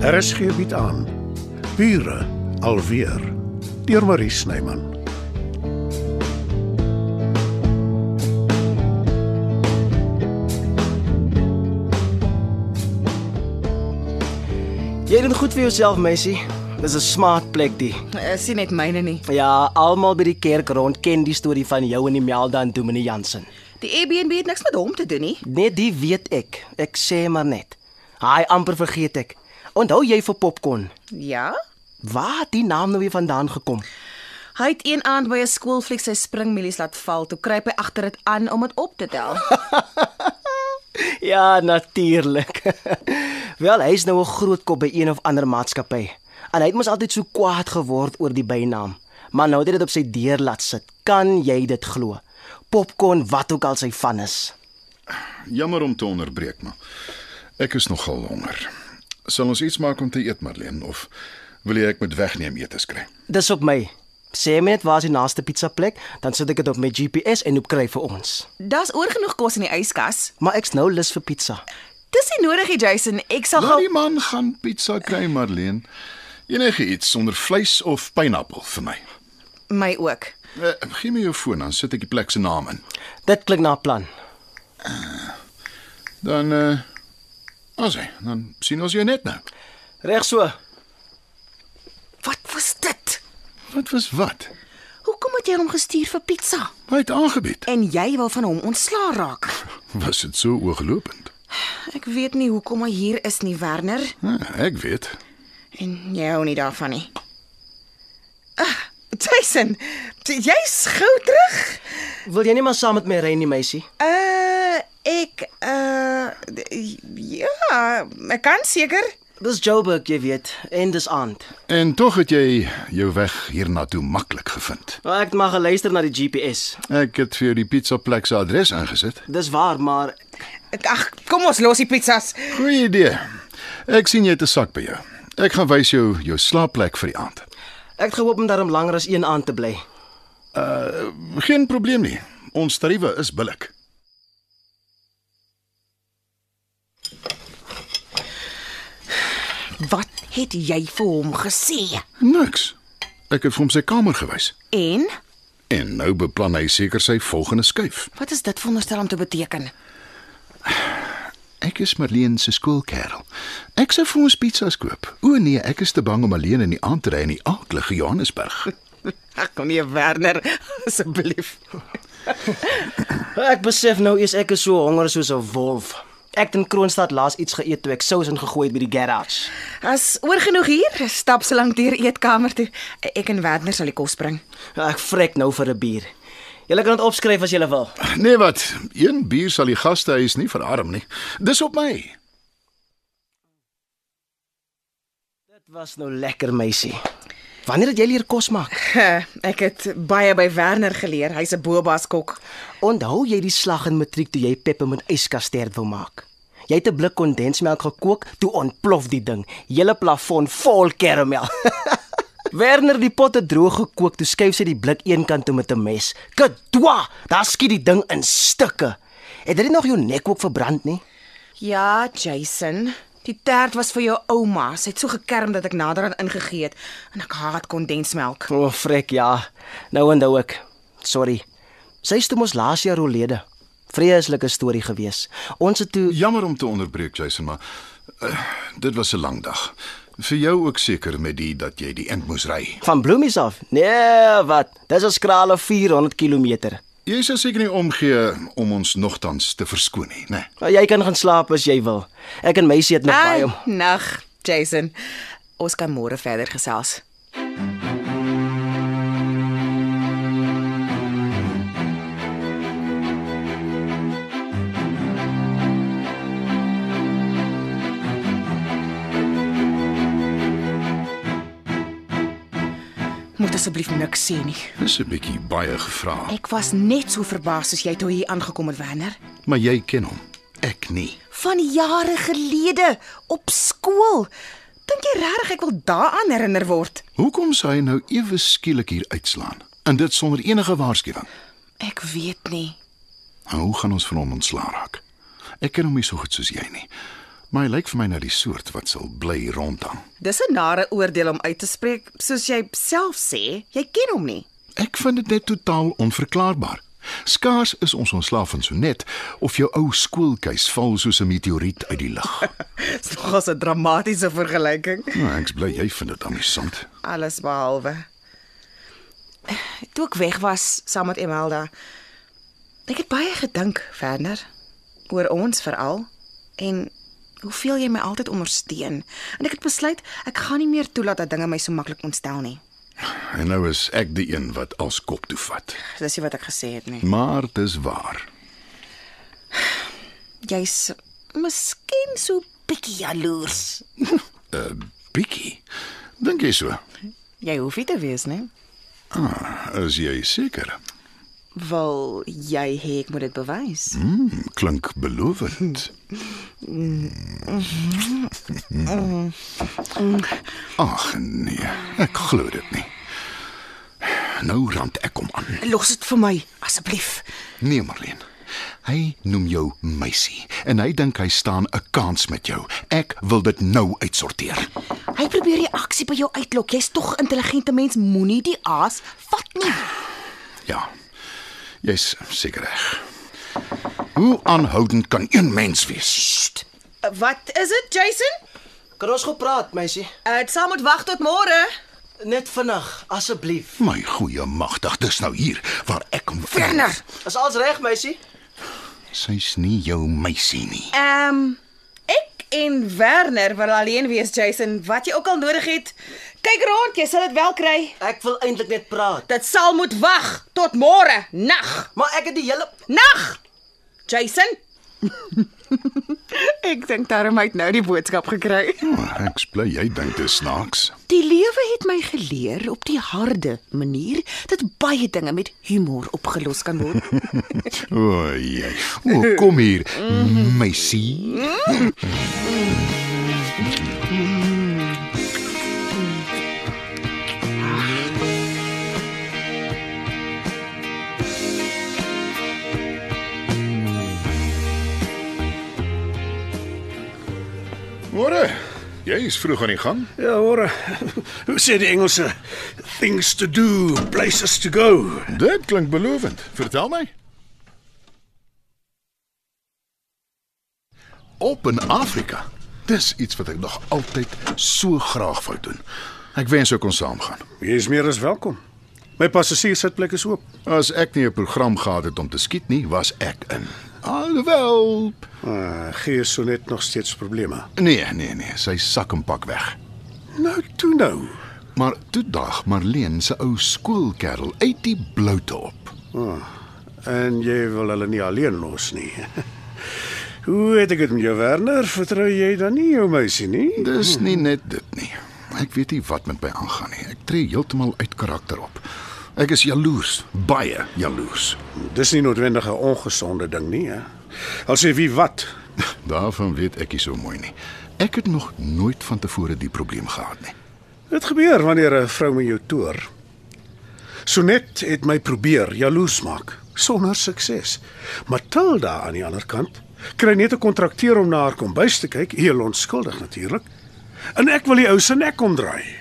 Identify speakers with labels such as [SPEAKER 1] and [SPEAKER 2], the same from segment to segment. [SPEAKER 1] Er is gebied aan. Bure alweer deur Marie Snyman.
[SPEAKER 2] Jy doen goed vir jouself, meisie. Dis 'n smart plek die.
[SPEAKER 3] Eh, Sien net myne nie.
[SPEAKER 2] Ja, almal by die kerk rond ken die storie van jou en die Melda en Dominee Jansen.
[SPEAKER 3] Die Airbnb het niks met hom te doen nie.
[SPEAKER 2] Net die weet ek. Ek sê maar net. Haai amper vergeet ek. Onthou jy vir popcorn?
[SPEAKER 3] Ja.
[SPEAKER 2] Waar het die naam nou weer vandaan gekom?
[SPEAKER 3] Hy het een aand by 'n skoolfliek sy springmielies laat val, toe kruip hy agter dit aan om dit op te tel.
[SPEAKER 2] Ja, natuurlik. Wel, hy's nou 'n groot kop by een of ander maatskappy. En hy het mos altyd so kwaad geword oor die bynaam. Maar nou het hy dit op sy deur laat sit. Kan jy dit glo? Popcorn wat ook al sy van is.
[SPEAKER 4] Jammer om te onderbreek, maar ek is nogal honger. Sal ons iets maak om te eet, Marlene, of wil jy ek moet wegneem etes kry?
[SPEAKER 2] Dis op my. Sê my net waar is die naaste pizza plek, dan sit ek dit op my GPS en op kry vir ons.
[SPEAKER 3] Daar's oorgenoeg kos in die yskas.
[SPEAKER 2] Maar ek's nou lus vir pizza.
[SPEAKER 3] Dis nie nodig nie, Jason. Ek sal
[SPEAKER 4] Laat
[SPEAKER 3] gou
[SPEAKER 4] Nou, die man gaan pizza kry, Marlene. Enige iets sonder vleis of pineappel vir my.
[SPEAKER 3] my ook.
[SPEAKER 4] Uh, Gee my jou foon dan sit ek die plek se naam in.
[SPEAKER 2] Dit klink na 'n plan.
[SPEAKER 4] Dan eh uh, as hy, dan sien ons jou net nou.
[SPEAKER 2] Reg so.
[SPEAKER 3] Wat was dit?
[SPEAKER 4] Wat was wat?
[SPEAKER 3] Hoekom het jy hom gestuur vir pizza?
[SPEAKER 4] Hy het aangebied.
[SPEAKER 3] En jy wil van hom ontslaa raak.
[SPEAKER 4] Was dit so ooglopend?
[SPEAKER 3] Ek weet nie hoekom hy hier is nie, Werner,
[SPEAKER 4] Ja, ek weet.
[SPEAKER 3] en jy hou nie daarvan nie. Ah, Jason, jy's gou terug.
[SPEAKER 2] Wil jy nie maar saam met my ry nie, meisie?
[SPEAKER 3] Uh ek uh d- ja, ek kan seker.
[SPEAKER 2] Dis Joburg, jy weet, en dis aand.
[SPEAKER 4] En tog het jy jou weg hiernatoe maklik gevind.
[SPEAKER 2] Maar ek het maar geluister na die GPS.
[SPEAKER 4] Ek het vir jou die pizza plek se adres ingesit.
[SPEAKER 2] Dis waar, maar
[SPEAKER 3] Ek- Ag, kom ons los die pizzas.
[SPEAKER 4] Goeie idee. Ek sien jy het 'n sak by jou. Ek gaan wys jou jou slaapplek vir die aand.
[SPEAKER 2] ek het gehoop om daarom langer as een aand te bly.
[SPEAKER 4] Geen probleem nie. Ons tariewe is billik.
[SPEAKER 3] Wat het jy vir hom gesê?
[SPEAKER 4] Niks. Ek het vir hom sy kamer gewys.
[SPEAKER 3] En
[SPEAKER 4] En nou beplan hy seker sy volgende skuif.
[SPEAKER 3] wat is dit veronderstel om te beteken?
[SPEAKER 4] Ek is Marlene se skoolkerel. Ek sou vir ons pizzas koop. O nee, ek is te bang om alleen in die aand te ry in die aaklige Johannesburg.
[SPEAKER 3] Ag nee, Werner, asseblief.
[SPEAKER 2] Ek besef nou eers ek is so honger soos 'n wolf. Ek het in Kroonstad laas iets geëet toe ek sous ingegooi het by die garage.
[SPEAKER 3] As oorgenoeg hier, stap so lank deur eetkamer toe. Ek en Werner sal die kos bring.
[SPEAKER 2] Ek vrek nou vir 'n bier. Julle kan dit opskryf as julle wil.
[SPEAKER 4] Nee wat, een bier sal die gastehuis nie verarm nie. Dis op my.
[SPEAKER 2] Dit was nou lekker, meisie. Wanneer het jy leer kos maak?
[SPEAKER 3] Ek het baie by Werner geleer. Hy's 'n boba's kok.
[SPEAKER 2] Onthou jy die slag in matriek toe jy peppermint yskasterd wou maak? Jy het 'n blik kondensmelk gekook, toe ontplof die ding. Hele plafon vol karamel. Werner die potte droog gekook, toe skuif sy die blik eenkant toe met 'n mes. Kedwa! Daar skiet die ding in stukke. Het dit nie nog jou nek ook verbrand nie?
[SPEAKER 3] Ja, Jason, die tert was vir jou ouma. Sy het so gekerm dat ek nader aan ingegee het en ek haat kondensmelk.
[SPEAKER 2] O, oh, frek ja. Nou onthou ek. Sorry. Sy is toe mos laas jaar oorlede. Vreeslike storie gewees. Ons het toe
[SPEAKER 4] Jammer om te onderbreek, Jason, maar uh, dit was 'n lang dag. Vir jou ook seker met die dat jy die end moes ry.
[SPEAKER 2] Van Bloemies af? Nee, wat? Dis 'n skrale 400 km.
[SPEAKER 4] Jy sou seker nie omgee om ons nogtans te verskoon nie, né? Nee.
[SPEAKER 2] Nou, Jy kan gaan slaap as jy wil. Ek en meisie het nog baie om.
[SPEAKER 3] nag, Jason. Ons kan môre verder gesels. Moet asseblief niks sê nie.
[SPEAKER 4] Dis 'n bietjie baie gevra,
[SPEAKER 3] Ek was net so verbaas soos jy toe hier aangekom het, Werner.
[SPEAKER 4] maar jy ken hom. Ek nie.
[SPEAKER 3] van jare gelede op skool. Dink jy regtig ek wil daaraan herinner word?
[SPEAKER 4] Hoekom sou hy nou ewe skielik hier uitslaan? En dit sonder enige waarskuwing.
[SPEAKER 3] Ek weet nie.
[SPEAKER 4] Nou, hoe gaan ons van hom ontslaa raak? Ek ken hom nie so goed soos jy nie. maar hy lyk vir my na die soort wat sal bly rondhang.
[SPEAKER 3] Dis 'n nare oordeel om uit te spreek, soos jy self sê. Jy ken hom nie.
[SPEAKER 4] Ek vind dit net totaal onverklaarbaar. Skaars is ons ontslaaf van Sonet of jou ou skoolkuis val soos 'n meteoriet uit die lug.
[SPEAKER 3] Dis nogals 'n dramatiese vergelyking.
[SPEAKER 4] Nou, ek's bly jy vind dit amusant.
[SPEAKER 3] Alles behalwe. Toe ek weg was saam met Emelda, ek het baie gedink verder oor ons veral en hoeveel jy my altyd ondersteun. En ek het besluit ek gaan nie meer toelaat dat dinge my so maklik ontstel nie.
[SPEAKER 4] En nou is ek die een wat als kop toe vat.
[SPEAKER 3] Dis nie wat ek gesê het nie.
[SPEAKER 4] Maar dis waar.
[SPEAKER 3] Jy's miskien so bietjie jaloers.
[SPEAKER 4] 'n Bietjie. Dink jy so?
[SPEAKER 3] Jy hoef nie te wees nie.
[SPEAKER 4] Is jy seker?
[SPEAKER 3] Wil jy hê ek moet dit bewys?
[SPEAKER 4] Mm, klink belovend. Ag nee, ek glo dit nie. Nou rand ek hom aan.
[SPEAKER 3] Los dit vir my asseblief.
[SPEAKER 4] Nee, Marlene. Hy noem jou meisie en hy dink hy staan 'n kans met jou. Ek wil dit nou uitsorteer.
[SPEAKER 3] Hy probeer die aksie by jou uitlok. Jy's tog 'n intelligente mens, moenie die aas vat nie.
[SPEAKER 4] Ja. Jy's seker reg. Hoe aanhoudend kan een mens wees?
[SPEAKER 3] Sst. Wat is dit, Jason?
[SPEAKER 2] Kan ons gepraat, meisie?
[SPEAKER 3] Dit uh, sal moet wag tot môre.
[SPEAKER 2] Net vinnig, asseblief.
[SPEAKER 4] My goeie magtig, dis nou hier waar ek hom
[SPEAKER 3] Verner.
[SPEAKER 2] Is alles reg, meisie?
[SPEAKER 4] Sy's nie jou meisie nie.
[SPEAKER 3] Ehm um, ek en Werner wil alleen wees, Jason. Wat jy ook al nodig het, kyk rond, jy sal dit wel kry.
[SPEAKER 2] Ek wil eintlik net praat.
[SPEAKER 3] Dit sal moet wag tot môre nag.
[SPEAKER 2] Maar ek het die hele
[SPEAKER 3] Nag. Jason. ek dink daarom het nou die boodskap gekry.
[SPEAKER 4] Oh, ek bly jy dink dit is snaaks.
[SPEAKER 5] Die lewe het my geleer op die harde manier dat baie dinge met humor opgelos kan word.
[SPEAKER 4] O, oh, jy. O, oh, kom hier, meisie. Môre. Jy is vroeg aan die gang.
[SPEAKER 1] Ja, hoor. Hoe sê die Engelse? Things to do, places to go.
[SPEAKER 4] Dit klink belovend. Vertel my. Op in Afrika. Dis iets wat ek nog altyd so graag wou doen. Ek wens ek kon saamgaan.
[SPEAKER 1] Jy is meer as welkom. My passasierssitplek is oop.
[SPEAKER 4] As ek nie 'n program gehad het om te skiet nie, was ek in. Alhoewel,
[SPEAKER 1] Ah, gee so net nog steeds probleme.
[SPEAKER 4] nee, nee, nee, sy sak en pak weg.
[SPEAKER 1] Nou toe nou.
[SPEAKER 4] Maar toe daag Marleen se ou skoolkerel uit die bloute op.
[SPEAKER 1] En jy wil hulle nie alleen los nie. Hoe het ek dit met jou Werner? Vertrou jy dan nie jou meisie nie?
[SPEAKER 4] Dis nie net dit nie. Ek weet nie wat met my aangaan nie. Ek tree heeltemal uit karakter op. Ek is jaloers, baie jaloers.
[SPEAKER 1] Dis nie noodwendig 'n ongesonde ding nie, hè. Al sê wie wat.
[SPEAKER 4] Daarvan weet ek nie so mooi nie. Ek het nog nooit van tevore die probleem gehad nie.
[SPEAKER 1] Dit gebeur wanneer 'n vrou met jou toer. Sonet het my probeer jaloers maak sonder sukses. Matilda aan die ander kant kry net 'n kontrakteur om na haar kombuis te kyk, heel onskuldig natuurlik. En ek wil die ou se nek omdraai.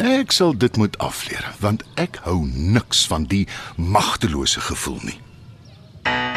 [SPEAKER 4] Ek sal dit moet afleer want ek hou niks van die magtelose gevoel nie.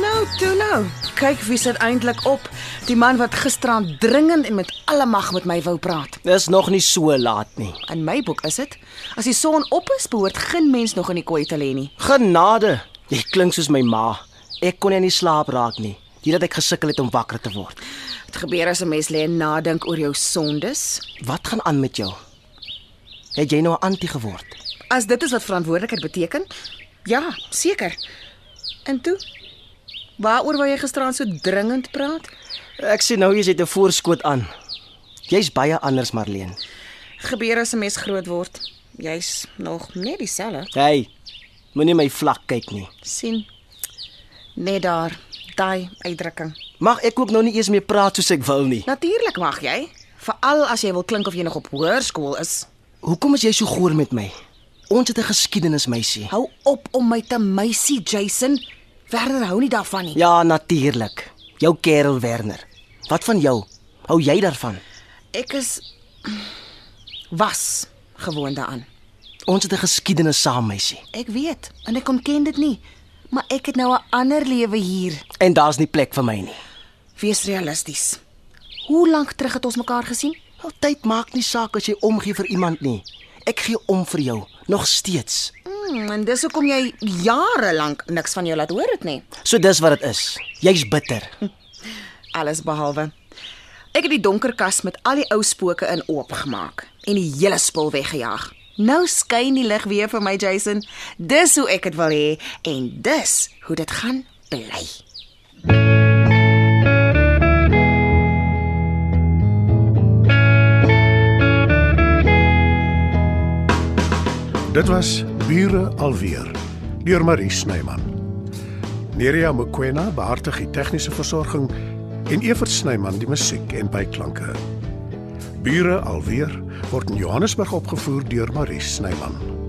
[SPEAKER 3] Nou toe nou. Kyk wie sit eintlik op. Die man wat gisteraan dringend en met alle mag met my wou praat.
[SPEAKER 2] Dis nog nie so laat nie.
[SPEAKER 3] In my boek is dit, as die son op is, behoort geen mens nog in die kooi te lê nie.
[SPEAKER 2] Genade. Jy klink soos my ma. Ek kon nie in die slaap raak nie. Dit het ek gesukkel het om wakker te word.
[SPEAKER 3] Dit gebeur as 'n mens lê en nadink oor jou sondes.
[SPEAKER 2] Wat gaan aan met jou? Het jy nou 'n antie geword?
[SPEAKER 3] As dit is wat verantwoordelikheid beteken? Ja, seker. En toe? Waaroor wou jy gisteraan so dringend praat?
[SPEAKER 2] Ek sien nou jy's uit 'n voorskoot aan. Jy's baie anders, Marleen.
[SPEAKER 3] Gebeur as 'n mens groot word. Jy's nog net dieselfde.
[SPEAKER 2] Hey. Moenie my vlak kyk nie.
[SPEAKER 3] sien. Net daar, daai uitdrukking.
[SPEAKER 2] Mag ek ook nou nie eers meer praat soos ek wil nie.
[SPEAKER 3] Natuurlik mag jy, veral as jy wil klink of jy nog op hoërskool is.
[SPEAKER 2] Hoekom is jy so goor met my? Ons het 'n geskiedenis, meisie.
[SPEAKER 5] Hou op om my te meisie, Jason. Werner hou nie daarvan nie.
[SPEAKER 2] Ja, natuurlik. Jou kerel Werner. Wat van jou? Hou jy daarvan?
[SPEAKER 3] Ek is was gewoond daaraan.
[SPEAKER 2] Ons het 'n geskiedenis saam, meisie.
[SPEAKER 5] Ek weet en ek ontken dit nie, maar ek het nou 'n ander lewe hier.
[SPEAKER 2] En daar's nie plek vir my nie.
[SPEAKER 3] Wees realisties.
[SPEAKER 5] Hoe lank terug het ons mekaar gesien?
[SPEAKER 2] Wel, tyd maak nie saak as jy omgee vir iemand nie. Ek gee om vir jou, nog steeds.
[SPEAKER 3] Mm, en dis hoekom jy jare lank niks van jou laat hoor het nie.
[SPEAKER 2] So dis wat dit is. Jy's bitter.
[SPEAKER 3] Alles behalwe. Ek het die donker kas met al die ou spooke in oopgemaak en die hele spul weggejaag. Nou skyn die lig weer vir my, Jason. Dis hoe ek dit wil hê en dis hoe dit gaan bly.
[SPEAKER 1] Dit was Bure alweer deur Marie Snyman. Nerea Mkwena behartig die tegniese versorging en Evert Snyman die musiek en byklanke. Bure alweer word in Johannesburg opgevoer deur Marie Snyman.